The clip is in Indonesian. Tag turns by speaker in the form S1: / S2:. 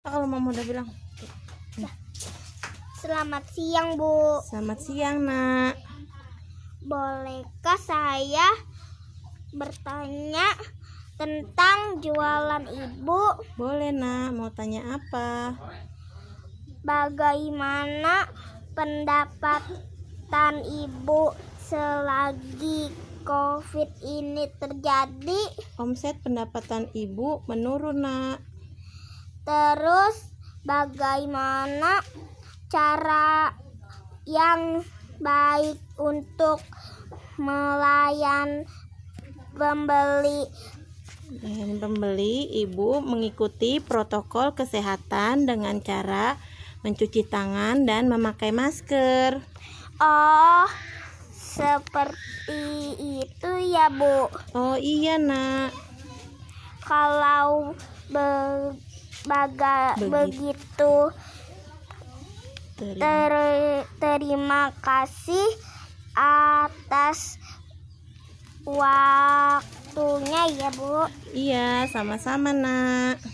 S1: Kalau mama udah bilang
S2: Selamat siang, Bu.
S1: selamat siang nak.
S2: Bolehkah saya bertanya tentang jualan Ibu?
S1: Boleh nak. Mau tanya apa?
S2: Bagaimana pendapatan Ibu selagi COVID ini terjadi?
S1: Omset pendapatan ibu menurun nak.
S2: Terus bagaimana cara yang baik untuk melayan pembeli?
S1: Dan pembeli ibu mengikuti protokol kesehatan dengan cara mencuci tangan dan memakai masker.
S2: Oh, seperti itu ya, Bu.
S1: Oh iya nak.
S2: Kalau be- baga-
S1: Begitu.
S2: begitu
S1: Terima
S2: ter- terima kasih atas waktunya ya, Bu.
S1: Iya, sama-sama, Nak.